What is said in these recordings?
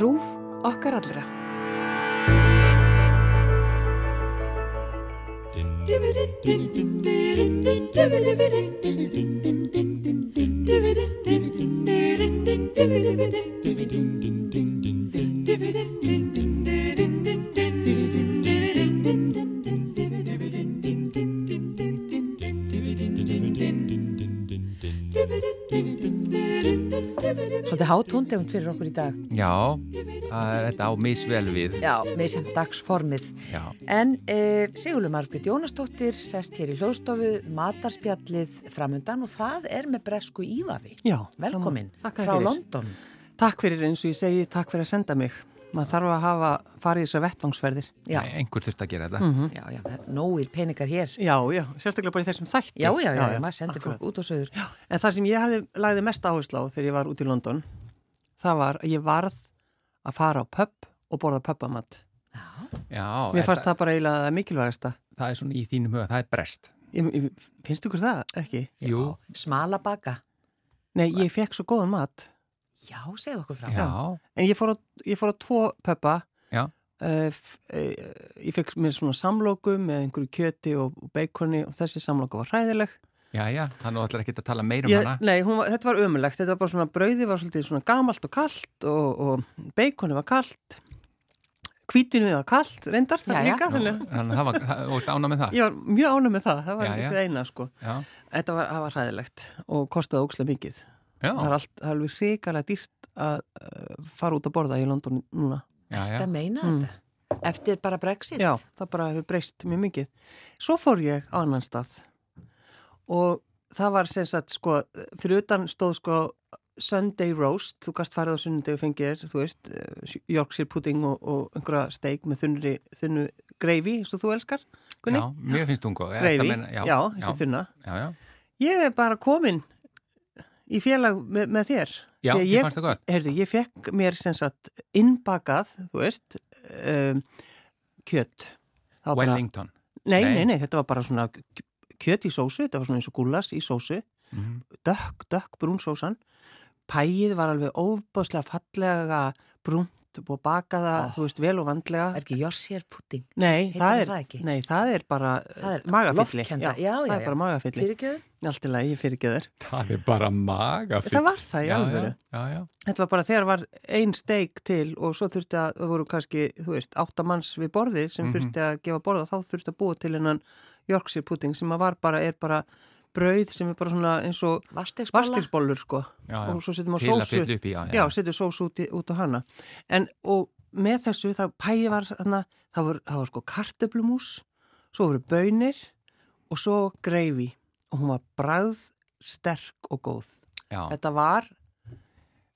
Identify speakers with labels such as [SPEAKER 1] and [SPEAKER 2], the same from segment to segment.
[SPEAKER 1] Rúf okkar allra. Svolítið hátóntegund fyrir okkur í dag.
[SPEAKER 2] Já, það er þetta á misvel við.
[SPEAKER 1] Já, með sem dagsformið.
[SPEAKER 2] Já.
[SPEAKER 1] En e, Sigurlu Margrét Jónasdóttir sest hér í hljóðstofu, matarspjallið framundan og það er með bresku ívafi.
[SPEAKER 3] Já,
[SPEAKER 1] Velkomin
[SPEAKER 3] sama. Þakka þér
[SPEAKER 1] frá
[SPEAKER 3] fyrir.
[SPEAKER 1] London.
[SPEAKER 3] Takk fyrir eins og ég segi, takk fyrir að senda mig. Maður þarf að hafa farið þessar vettvangsferðir.
[SPEAKER 1] Já,
[SPEAKER 2] Nei, Einhver þurft að gera þetta.
[SPEAKER 3] Mhm.
[SPEAKER 2] Mm
[SPEAKER 1] já, já, nógir peningar hér.
[SPEAKER 3] Já, já, sérstaklega bara í þessum þætti.
[SPEAKER 1] Já, já, já, maður sendir fólk
[SPEAKER 3] akkurat.
[SPEAKER 1] út og sögur.
[SPEAKER 3] Já, en það sem ég hafði, lagði mest áherslu á þegar ég var út í London, það var að ég varð að fara á pub og borða pubamatt.
[SPEAKER 2] Já,
[SPEAKER 3] Mér fannst
[SPEAKER 2] það,
[SPEAKER 3] það bara eiginlega það mikilvægasta.
[SPEAKER 2] það er svona í þínum huga, það er brest.
[SPEAKER 3] Ég, ég, finnst ykkur það ekki?
[SPEAKER 2] Jú,
[SPEAKER 1] Smala baka.
[SPEAKER 3] Nei, ég fekk svo góðan mat.
[SPEAKER 1] Já, segð okkur frá.
[SPEAKER 2] já,
[SPEAKER 3] En ég fór á, ég fór á tvo pubba
[SPEAKER 2] já,
[SPEAKER 3] Uh, f- uh, ég fekk mér svona samlóku með einhverju kjöti og, og beikoni og þessi samlóku var hræðileg
[SPEAKER 2] já, já, þannig ætlar ekki að tala meira um
[SPEAKER 3] ég,
[SPEAKER 2] hana.
[SPEAKER 3] nei, hún var, þetta var ömulegt þetta var bara svona, brauði var svolítið svona gamalt og kalt og, og beikoni var kalt kvítinu var kalt reyndar það
[SPEAKER 1] Jæja.
[SPEAKER 3] líka þannig að
[SPEAKER 2] Þannig að það var, það- þú ert ána með það.
[SPEAKER 3] ég var mjög ánum með það, það var
[SPEAKER 2] Jæja.
[SPEAKER 3] eitthvað eina sko
[SPEAKER 2] Já,
[SPEAKER 3] þetta var, það var hræðilegt og kostaði ókslega mikið
[SPEAKER 2] já,
[SPEAKER 3] það er allt, það er alveg hrikalega dýrt að uh, fara út að borða í London núna
[SPEAKER 2] já, já.
[SPEAKER 1] Þetta meina þetta. Eftir bara Brexit.
[SPEAKER 3] Mm. Já, það bara hefur breyst mjög mikið. Svo fór ég á annan stað og það var sem sagt sko, fyrir utan stóð sko Sunday roast, þú gast farið á sunnundegi og fengir, þú veist, eh, Yorkshire pudding og, og einhverja steik með þunnri, þunnu greifi, svo þú elskar, Gunni?
[SPEAKER 2] Já, mjög finnst hún góð. Þetta
[SPEAKER 3] greifi,
[SPEAKER 2] meina- já,
[SPEAKER 3] þessi þunna.
[SPEAKER 2] já, já,
[SPEAKER 3] Ég er bara komin í félag með, með þér.
[SPEAKER 2] Já,
[SPEAKER 3] Því að
[SPEAKER 2] þér fannst það gott.
[SPEAKER 3] Heyrðu, ég fekk mér sem sagt innbakað, þú veist, um, kjött. Það var bara-
[SPEAKER 2] Wellington.
[SPEAKER 3] Nei,
[SPEAKER 2] Nei.
[SPEAKER 3] nei, nei, þetta var bara svona k- kjöt í sósu, þetta var svona eins og gullas í sósu,
[SPEAKER 2] Mhm.
[SPEAKER 3] dökk, dökk brún sósan, pæið var alveg óbáslega fallega brúnt og bakaða, þú veist, vel og vandlega.
[SPEAKER 1] Ah. Er ekki Jorsjér Pudding?
[SPEAKER 3] nei,
[SPEAKER 1] heitir
[SPEAKER 3] það er,
[SPEAKER 1] það ekki?
[SPEAKER 3] nei, það er bara uh,
[SPEAKER 1] Það er
[SPEAKER 3] magafylli.
[SPEAKER 1] loftkenda. Já, já,
[SPEAKER 3] það er
[SPEAKER 1] já.
[SPEAKER 3] bara magafylli.
[SPEAKER 1] Fyrirgjöðu?
[SPEAKER 3] Allt í lagi, ég fyrir ekki þér.
[SPEAKER 2] Það er bara maga.
[SPEAKER 3] Það var það í
[SPEAKER 2] já,
[SPEAKER 3] alvöru.
[SPEAKER 2] já, já, já,
[SPEAKER 3] Þetta var bara þegar var ein steik til og svo þurfti að, það voru kannski, þú veist, áttamanns við borðið sem
[SPEAKER 2] Mhm.
[SPEAKER 3] þurfti að gefa borða, þá þurfti að búa til hennan Yorkshire pudding sem að var bara, er bara brauð sem er bara svona eins og
[SPEAKER 1] Vastegsbóla?
[SPEAKER 3] vastegsbollur sko
[SPEAKER 2] Já, já.
[SPEAKER 3] og svo setjum á
[SPEAKER 2] Til að
[SPEAKER 3] sósu,
[SPEAKER 2] fylla upp í, já, já.
[SPEAKER 3] já, setjum sósu út, í, út á hana. En og með þessu það pæði var, hana, það, var, það var sko kartöblumús, svo voru bönir og svo greifi og hún var bræð, sterk og góð.
[SPEAKER 2] já.
[SPEAKER 3] Þetta var,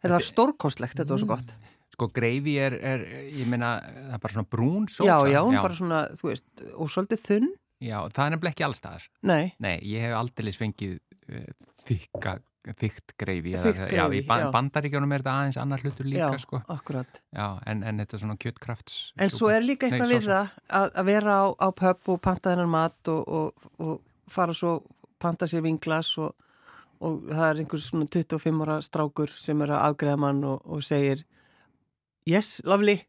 [SPEAKER 3] þetta var stórkostlegt, þetta var svo gott.
[SPEAKER 2] Sko, greifi er, er, ég meina, það er bara svona brún sósa.
[SPEAKER 3] Já, já, hún bara svona, þú veist, og svolítið þunn.
[SPEAKER 2] Já, það er nefnilega ekki allstaðar.
[SPEAKER 3] Nei,
[SPEAKER 2] Nei, ég hef aldrei fengið uh, þykka, þykkt greifi. eða-
[SPEAKER 3] Þykkt
[SPEAKER 2] Já, í
[SPEAKER 3] greifi,
[SPEAKER 2] ban
[SPEAKER 3] já.
[SPEAKER 2] bandaríkjónum er þetta aðeins annar hlutur líka,
[SPEAKER 3] já,
[SPEAKER 2] sko.
[SPEAKER 3] akkurat.
[SPEAKER 2] Já, en, en þetta er svona kjöttkrafts.
[SPEAKER 3] En svo er líka eitthvað við það að, að vera á, á pub og panta þennan mat og, og, og fara svo, panta sér vinglas og, og það er einhver svona 25 ára strákur sem er að afgreða mann og, og segir Yes, lovely,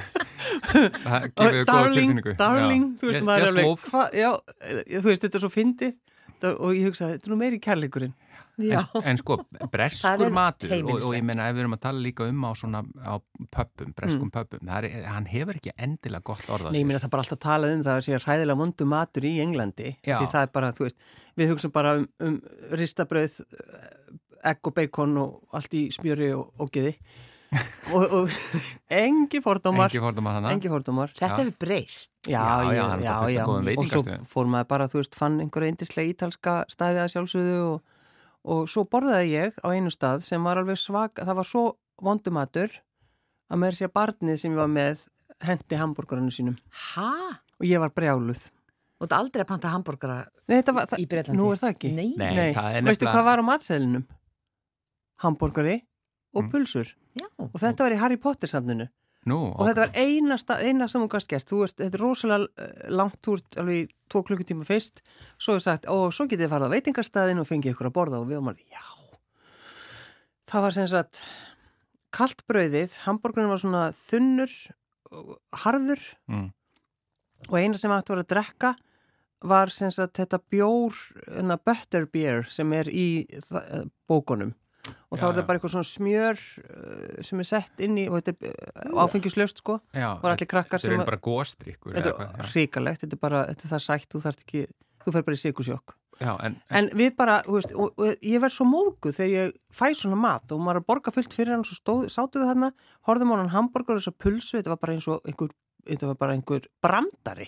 [SPEAKER 2] það.
[SPEAKER 3] Og darling, darling, þú veist, maður er alveg, hva, já, eh, þú veist, þetta er svo fyndið Þetta- og ég hugsaði, þetta er nú meiri kærleikurinn.
[SPEAKER 1] Já.
[SPEAKER 2] En, en sko,
[SPEAKER 1] Það er
[SPEAKER 2] breskur matur og, og
[SPEAKER 1] heimilislegt.
[SPEAKER 2] ég meina ef við erum að tala líka um á svona á pöppum, breskum pöppum, það er, hann hefur ekki endilega gott orða
[SPEAKER 3] Mm. Nei, ég meina það er bara alltaf talað um það að sé hræðilega vondu matur í Englandi
[SPEAKER 2] Já.
[SPEAKER 3] því það er bara, þú veist, við hugsaum bara um, um ristabröð eh, egg og bacon og allt í smjöri og ógeði og, og engi fordómar
[SPEAKER 2] Engi fórðum að hana.
[SPEAKER 3] engi fordómar
[SPEAKER 1] Þetta hefur breyst.
[SPEAKER 3] Já,
[SPEAKER 2] Já, já,
[SPEAKER 3] ég-
[SPEAKER 2] hann er
[SPEAKER 3] já,
[SPEAKER 2] bara fullt af
[SPEAKER 3] já.
[SPEAKER 2] góðum
[SPEAKER 3] og svo
[SPEAKER 2] veitingastöðum.
[SPEAKER 3] fór maður bara, þú veist, fann einhverja indislega ítalska stæði að sjálfsögðu og, og svo borðaði ég á einu stað sem var alveg svag, það var svo vondumatur að maður sé að barnið sem ég var með hendi hambúrgarinu sínum
[SPEAKER 1] Hæ?
[SPEAKER 3] og ég var brjáluð.
[SPEAKER 1] Þú ert aldrei að panta hambúrgara
[SPEAKER 3] Nei, þetta var,
[SPEAKER 1] í Breitlandi?
[SPEAKER 3] Nú er það ekki.
[SPEAKER 1] Nei,
[SPEAKER 2] Nei, það er
[SPEAKER 3] Veistu
[SPEAKER 2] nefnilega-
[SPEAKER 3] hvað var á matseðlinum? Hamburgari og
[SPEAKER 2] Mm.
[SPEAKER 3] pulsur.
[SPEAKER 1] já.
[SPEAKER 3] Og þetta var í Harry Potter sandinu.
[SPEAKER 2] Nú,
[SPEAKER 3] Og þetta var einasta, eina sem hún gæst gert. Þú ert, þetta er rosalega eh, langt, þú ert alveg í tvo klukkutíma fyrst. Svo er sagt, og svo getið þið farið á veitingastæðin og fengið ykkur að borða og við varum alveg, já. Það var sem sagt kalt brauðið, hambúrgunum var svona þunnur, og harður
[SPEAKER 2] Mm.
[SPEAKER 3] og eina sem hægt var að drekka var sem sagt þetta bjór, enna butter beer sem er í þa- eh, bókunum og þá
[SPEAKER 2] Já,
[SPEAKER 3] er
[SPEAKER 2] já.
[SPEAKER 3] það bara eitthvað svona smjör eh, sem er sett inn í og þetta er áfengislaust sko
[SPEAKER 2] Já,
[SPEAKER 3] og allir krakkar
[SPEAKER 2] þetta
[SPEAKER 3] sem
[SPEAKER 2] eru
[SPEAKER 3] að-
[SPEAKER 2] bara góstrykkur
[SPEAKER 3] þetta er hrikalegt, þetta er bara þetta er það sætt, þú þarft ekki, þú fer bara í sikursjokk
[SPEAKER 2] Já, en, en
[SPEAKER 3] En við bara, þú veist, og, og ég verð svo móðguð þegar ég fæ svona mat og maður er að borga fullt fyrir hann og svo stóð, sátu við þarna, horfðum á hann hambúrgur og þess að pulsu, þetta var bara eins og einhver, þetta var bara einhver brandari.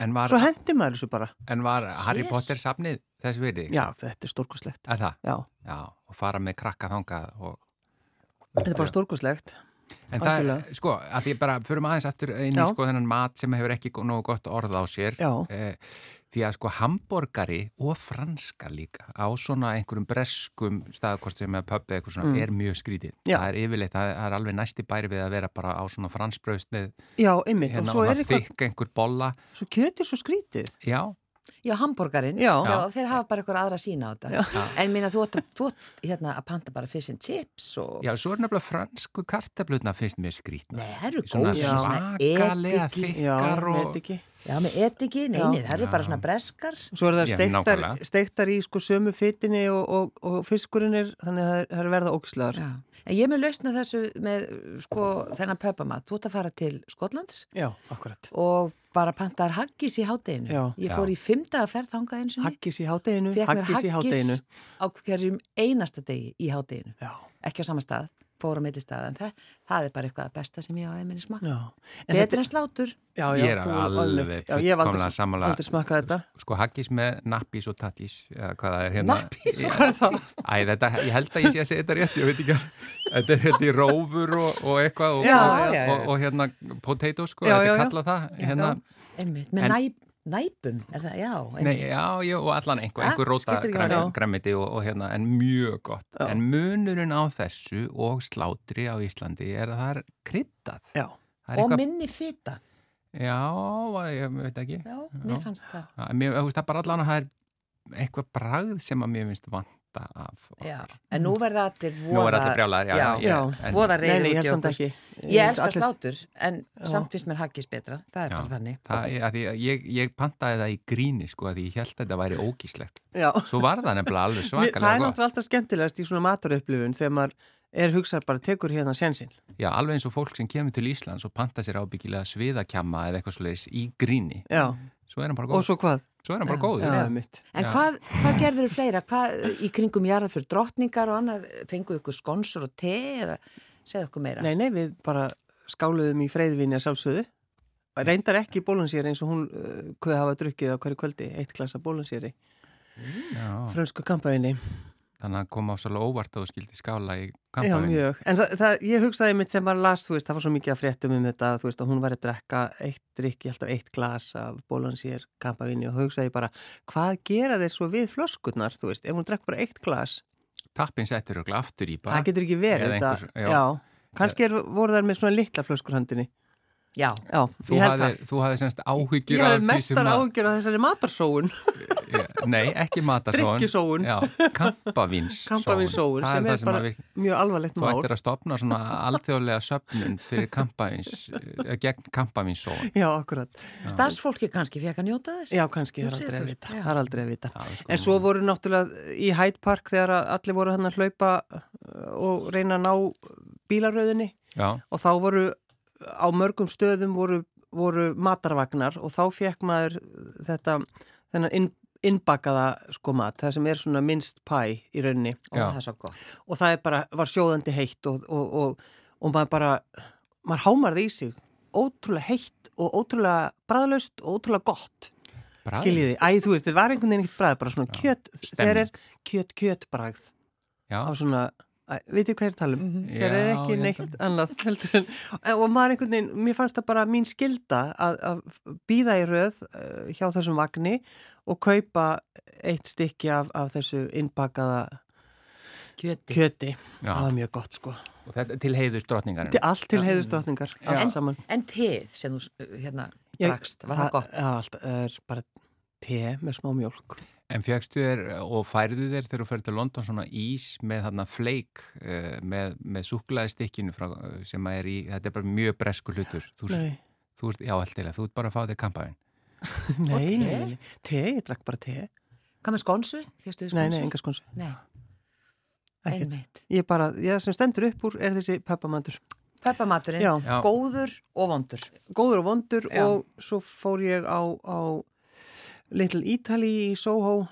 [SPEAKER 2] en var,
[SPEAKER 3] Svo hendi maður þessu bara.
[SPEAKER 2] en var Harry
[SPEAKER 1] Yes.
[SPEAKER 2] Potter safnið þess verið?
[SPEAKER 3] Já, þetta er stórkoslegt.
[SPEAKER 2] Er það?
[SPEAKER 3] Já,
[SPEAKER 2] Já, og fara með krakka þangað og...
[SPEAKER 3] þetta er bara stórkoslegt.
[SPEAKER 2] En það,
[SPEAKER 3] algjörlega.
[SPEAKER 2] sko, að því bara förum aðeins aftur inn í
[SPEAKER 3] Já.
[SPEAKER 2] sko þennan mat sem hefur ekki gó- nógu gott orð á sér.
[SPEAKER 3] Já,
[SPEAKER 2] Eh, því að sko hamborgari og franska líka á svona einhverjum breskum staðkort sem er pubbi eitthvað svona er mjög skrítið.
[SPEAKER 3] Mm. Já.
[SPEAKER 2] Það er yfirleitt, það það er alveg næsti bæri við að vera bara á svona fransbraustnið
[SPEAKER 3] já, einmitt.
[SPEAKER 2] hérna
[SPEAKER 3] og
[SPEAKER 2] og
[SPEAKER 3] svo
[SPEAKER 2] það
[SPEAKER 3] er eitthvað,
[SPEAKER 2] þykk einhver bolla.
[SPEAKER 3] svo kjötið svo skrítið.
[SPEAKER 2] Já,
[SPEAKER 1] Já, hambúrgarinn,
[SPEAKER 3] Já.
[SPEAKER 1] þeir hafa bara eitthvað aðra sína á þetta. En minna, þú ætti þú átt hérna að panta bara fish and chips og...
[SPEAKER 2] já, svo er nefnilega fransku kartablutna finnst mér skrítna.
[SPEAKER 1] Nei, það eru
[SPEAKER 2] Svona
[SPEAKER 1] góð,
[SPEAKER 3] Já.
[SPEAKER 2] svakalega
[SPEAKER 1] ediki.
[SPEAKER 3] Já,
[SPEAKER 2] þykkar og...
[SPEAKER 3] veit ekki.
[SPEAKER 1] Já, með ediki,
[SPEAKER 3] Já.
[SPEAKER 1] neini, það eru bara svona breskar.
[SPEAKER 3] Svo er það
[SPEAKER 2] Já,
[SPEAKER 3] steiktar,
[SPEAKER 2] nákvæmlega.
[SPEAKER 3] steiktar í sko sömu fytinni og, og, og fiskurinn er, þannig að það er- það er verða ógislegar.
[SPEAKER 1] Já. En ég er með lausna þessu með, sko, þennan pöpamat. Þú ætti að fara til Skotlands
[SPEAKER 3] Já, akkurat.
[SPEAKER 1] og bara pantaðar haggis í hátteginu.
[SPEAKER 3] Já.
[SPEAKER 1] Ég fór í fimmdaga ferð þangað
[SPEAKER 2] Mm.
[SPEAKER 1] eins og mér.
[SPEAKER 3] Haggis í hátteginu,
[SPEAKER 1] Fekk mér
[SPEAKER 3] haggis í hátteginu.
[SPEAKER 1] haggis á hverjum einasta degi í hátteginu.
[SPEAKER 3] Já,
[SPEAKER 1] Ekki á sama stað, fór á milli stað, en það, það er bara eitthvað að besta sem ég á eiminni smakka.
[SPEAKER 3] já. En þetta-
[SPEAKER 1] Betur en slátur.
[SPEAKER 3] já, já,
[SPEAKER 2] Ég er
[SPEAKER 3] þú
[SPEAKER 2] alveg
[SPEAKER 3] alveg- já, ég hef aldrei-
[SPEAKER 2] fullkomlega sammála.
[SPEAKER 3] Aldrei smakað þetta.
[SPEAKER 2] Sko haggis með nappis og tattis, eða hvað það er hérna.
[SPEAKER 1] Nappís og
[SPEAKER 2] Já.
[SPEAKER 3] Hvað er það?
[SPEAKER 2] Æ, þetta, ég held að ég sé að segja þetta rétt, ég veit ekki að þetta er hérna í rófur og, og eitthvað og,
[SPEAKER 3] Já,
[SPEAKER 2] og,
[SPEAKER 1] já, já.
[SPEAKER 2] og, og hérna potato sko,
[SPEAKER 3] Já,
[SPEAKER 2] þetta
[SPEAKER 3] já,
[SPEAKER 2] er
[SPEAKER 3] já.
[SPEAKER 2] kallað það hérna,
[SPEAKER 1] Einmitt, með
[SPEAKER 2] En-
[SPEAKER 1] næp, næpum, er það, já.
[SPEAKER 2] nei,
[SPEAKER 1] einmitt.
[SPEAKER 2] já, já, og allan einhver,
[SPEAKER 1] Ah,
[SPEAKER 2] einhver róta
[SPEAKER 1] skiptir ekki
[SPEAKER 2] græm-
[SPEAKER 3] máli. Já.
[SPEAKER 2] grænmeti og, og hérna, en mjög gott
[SPEAKER 3] Já.
[SPEAKER 2] en munurinn á þessu og slátri á Íslandi er að það er kryddað
[SPEAKER 3] Já,
[SPEAKER 2] það er
[SPEAKER 1] Og minni fita.
[SPEAKER 2] já, ég veit ekki
[SPEAKER 1] Já, mér
[SPEAKER 2] Já.
[SPEAKER 1] fannst það.
[SPEAKER 2] Að mér, þú veist, það er bara allan að það er eitthvað bragð sem að mér finnst vanta af okkur.
[SPEAKER 1] Já. En nú verða allir voða...
[SPEAKER 2] Nú er allir brjálæðir, já,
[SPEAKER 1] Já,
[SPEAKER 2] já,
[SPEAKER 3] já.
[SPEAKER 2] en-
[SPEAKER 1] voða
[SPEAKER 3] nei,
[SPEAKER 1] reyður
[SPEAKER 3] nei,
[SPEAKER 1] út
[SPEAKER 3] ég
[SPEAKER 1] í
[SPEAKER 3] held samt
[SPEAKER 1] okkur.
[SPEAKER 3] ekki.
[SPEAKER 1] Ég elskar
[SPEAKER 3] Allir-
[SPEAKER 1] slátur, en samt finnst mér haggis betra. Það er
[SPEAKER 2] Já.
[SPEAKER 1] bara þannig.
[SPEAKER 2] Það, er- af því að ég, ég pantaði það í gríni sko að ég held að þetta væri ógíslegt
[SPEAKER 3] Já,
[SPEAKER 2] svo var það nefnilega alveg
[SPEAKER 3] það er
[SPEAKER 2] svakalega gott
[SPEAKER 3] náttúrulega alltaf skemmtilegast í svona maturupplifun þegar maður er hugsað bara tekur hérna sjensinn.
[SPEAKER 2] Já, alveg eins og fólk sem kemur til Íslands og panta sér ábyggilega sviðakjama eða eitthvað svoleiðis í gríni
[SPEAKER 3] Já,
[SPEAKER 2] svo er hann bara
[SPEAKER 3] og
[SPEAKER 2] góð,
[SPEAKER 3] svo hvað?
[SPEAKER 2] svo er hann bara góð
[SPEAKER 3] Já, mitt.
[SPEAKER 1] En
[SPEAKER 2] Mhm. Já.
[SPEAKER 1] hvað, hvað gerður þau fleira? Hvað í kringum jarðar fyrir drottningar og annað? Fenguðu ykkur skonsur og te eða segðu okkur meira?
[SPEAKER 3] Nei, nei, við bara skáluðum í freyðvinni að sjálfsögðu. Reyndar ekki bólansýri eins og hún uh, hvað hafa drukkið á hverju kvöldi, eitt glasa bólansýri,
[SPEAKER 2] Já,
[SPEAKER 3] frönsku kampaðinni.
[SPEAKER 2] þannig að koma á svolítið óvart og þú skildi skála í
[SPEAKER 3] Já,
[SPEAKER 2] kampanjum
[SPEAKER 3] mjög. En það, það, ég hugsaði mitt þegar maður las, þú veist, það var svo mikið að fréttum um þetta, þú veist, að hún var að drekka eitt drikk, ég held að eitt glas af bólansýr kampavinni og þá hugsaði ég bara, hvað gera þeir svo við flöskurnar, þú veist, ef hún drekk bara eitt glas,
[SPEAKER 2] Tappin settur og aftur í bara
[SPEAKER 3] það getur ekki verið
[SPEAKER 2] Eða
[SPEAKER 3] þetta.
[SPEAKER 2] einhvers- já.
[SPEAKER 3] já. Kannski er, voru þær með svona litla flöskurhandinni.
[SPEAKER 1] Já,
[SPEAKER 3] Já,
[SPEAKER 2] Þú
[SPEAKER 3] ég held
[SPEAKER 2] hafði,
[SPEAKER 3] það.
[SPEAKER 2] þú hafði semst
[SPEAKER 3] Ég
[SPEAKER 2] áhyggjur af
[SPEAKER 3] hafði
[SPEAKER 2] því sem
[SPEAKER 3] mestar ágjör að þessari matarsóun.
[SPEAKER 2] áhyggjur Nei, ekki matasóun
[SPEAKER 3] Drykkjusóun.
[SPEAKER 2] Já, kampavinssóun
[SPEAKER 3] Kampavínsóun,
[SPEAKER 2] Það
[SPEAKER 3] sem
[SPEAKER 2] er
[SPEAKER 3] er
[SPEAKER 2] það sem
[SPEAKER 3] bara
[SPEAKER 2] að virka
[SPEAKER 3] Mjög alvarlegt
[SPEAKER 2] Þú
[SPEAKER 3] mál.
[SPEAKER 2] ættir að stopna svona alþjóðlega söfnun fyrir kampavins, eh, gegn kampavinssón.
[SPEAKER 3] Já, akkurat.
[SPEAKER 1] starfsfólki kannski fekk að njóta þess.
[SPEAKER 3] Já, kannski, það er
[SPEAKER 1] Hugsið
[SPEAKER 3] aldrei
[SPEAKER 1] ykkur.
[SPEAKER 3] að vita.
[SPEAKER 1] Já.
[SPEAKER 3] Það er aldrei að vita.
[SPEAKER 2] Það er sko-
[SPEAKER 3] En svo voru náttúrulega í Hyde Park þegar að allir voru hann að hlaupa uh, og reyna að ná bílaröðinni
[SPEAKER 2] Já,
[SPEAKER 3] og þá voru á mörgum stöðum voru, voru matarvagnar og þá fekk maður þetta, þennan inn, innbakaða sko mat, það sem er svona minnst pæ í rauninni
[SPEAKER 1] Ó,
[SPEAKER 2] Já.
[SPEAKER 1] það er svo gott.
[SPEAKER 3] og það er bara, var sjóðandi heitt og, og, og, og maður bara, maður hámarði í sig ótrúlega heitt og ótrúlega bræðlaust og ótrúlega gott.
[SPEAKER 2] bræð.
[SPEAKER 3] Skiljiði, æ, þú veist, þetta var einhvern veginn ekkert bragð, bara svona kjöt, þegar er kjöt, kjöt bragð
[SPEAKER 2] Já,
[SPEAKER 3] á svona, æ, veitir hvað ég er að tala um? Þegar er
[SPEAKER 2] Já,
[SPEAKER 3] ekki
[SPEAKER 2] ég held
[SPEAKER 3] neitt annað heldur en, og maður einhvern veginn, mér fannst það bara mín skilda að, að býða í röð uh, hjá þessum vagni og kaupa eitt stykki af, af þessu innbakaða
[SPEAKER 1] Kjöti.
[SPEAKER 3] kjöti.
[SPEAKER 2] Já.
[SPEAKER 3] Það var mjög gott, sko.
[SPEAKER 2] og þetta til heiðus drottningarinn.
[SPEAKER 3] Til allt til heiðustrótningar, allt saman.
[SPEAKER 1] En teð sem þú, s- hérna,
[SPEAKER 3] Ég-
[SPEAKER 1] drakst, var það gott?
[SPEAKER 3] Já, allt er bara te með smá mjólk.
[SPEAKER 2] En fegstu þér eh, og færðu þér þegar þú ferði til London svona ís með þarna fleik eh, með, með súklaði stikkinu frá, eh, sem að er í, þetta er bara mjög bresku hlutur. Þú,
[SPEAKER 3] Nei,
[SPEAKER 2] þú ert, já, alltilega, þú ert bara að fá þér kampaðin.
[SPEAKER 1] te?
[SPEAKER 3] nei, nei, nei. te, ég drakk bara te
[SPEAKER 1] Hvað með skonsu? Fyrstu þið
[SPEAKER 3] Nei,
[SPEAKER 1] skonsu?
[SPEAKER 3] nei, enga skonsu
[SPEAKER 1] Nei,
[SPEAKER 3] Ekkert.
[SPEAKER 1] Sko, einmitt.
[SPEAKER 3] Ég bara, ég sem stendur upp úr er þessi peppamandur
[SPEAKER 1] Peppamaturinn,
[SPEAKER 3] Já.
[SPEAKER 2] Já.
[SPEAKER 1] góður og vondur.
[SPEAKER 3] góður og vondur
[SPEAKER 1] Já.
[SPEAKER 3] og svo fór ég á, á Little Italy í Soho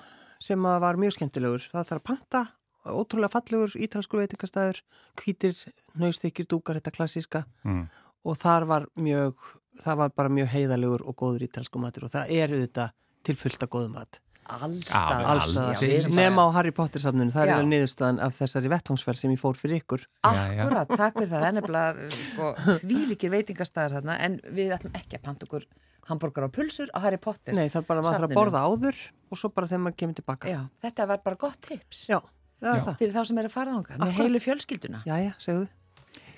[SPEAKER 3] sem að var mjög skemmtilegur. Það þarf að panta, ótrúlega fallegur ítalskur veitingastæður, hvítir, nöystykir, dúkar, þetta klassíska
[SPEAKER 2] Mm.
[SPEAKER 3] og þar var mjög, það var bara mjög heiðalegur og góður ítalsku matur og það er auðvitað til fullt af góðum mat.
[SPEAKER 1] Allstað.
[SPEAKER 2] Já,
[SPEAKER 3] allstaðar.
[SPEAKER 1] Já, við erum bara-
[SPEAKER 3] Nefn á Harry Potter safninu, það
[SPEAKER 1] Já.
[SPEAKER 3] er niðurstaðan af þessari vettvangsferð sem ég fór fyrir ykkur.
[SPEAKER 2] Já, já.
[SPEAKER 1] Akkurat, takk fyrir það, en nefnilega sko, þvílikir veitingastæðar þarna en við ætlum ekki að panta okkur hambúrgar og pulsur á Harry Potter
[SPEAKER 3] Nei, það er bara að maður þarf að
[SPEAKER 1] safninu.
[SPEAKER 3] borða áður og svo bara þegar maður kemur tilbaka.
[SPEAKER 1] Já, þetta var bara gott tips
[SPEAKER 3] Já, það er
[SPEAKER 2] Já.
[SPEAKER 3] það.
[SPEAKER 1] fyrir þá sem er að fara þangað með
[SPEAKER 3] Akkurat.
[SPEAKER 1] heilu fjölskylduna
[SPEAKER 3] Jæja, segðu.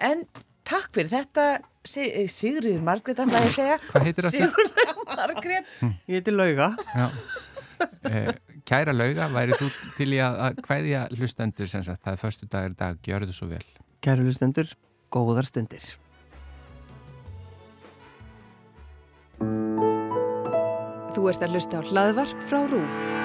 [SPEAKER 1] En takk fyrir þetta Sig- Sigríður Margrét ætlaði að segja
[SPEAKER 2] Hvað heitir þetta?
[SPEAKER 1] Sigríður Margrét
[SPEAKER 3] Ég heiti Lauga.
[SPEAKER 2] Já. Eh, Kæra lauga, væri þú til í að, að hvaðja hlustendur sem sagt, það er förstu dagur í dag, gjörðu svo vel.
[SPEAKER 3] Kæru hlustendur, góðar stundir.
[SPEAKER 4] Þú ert að hlusta á hlaðvarp frá RÚF.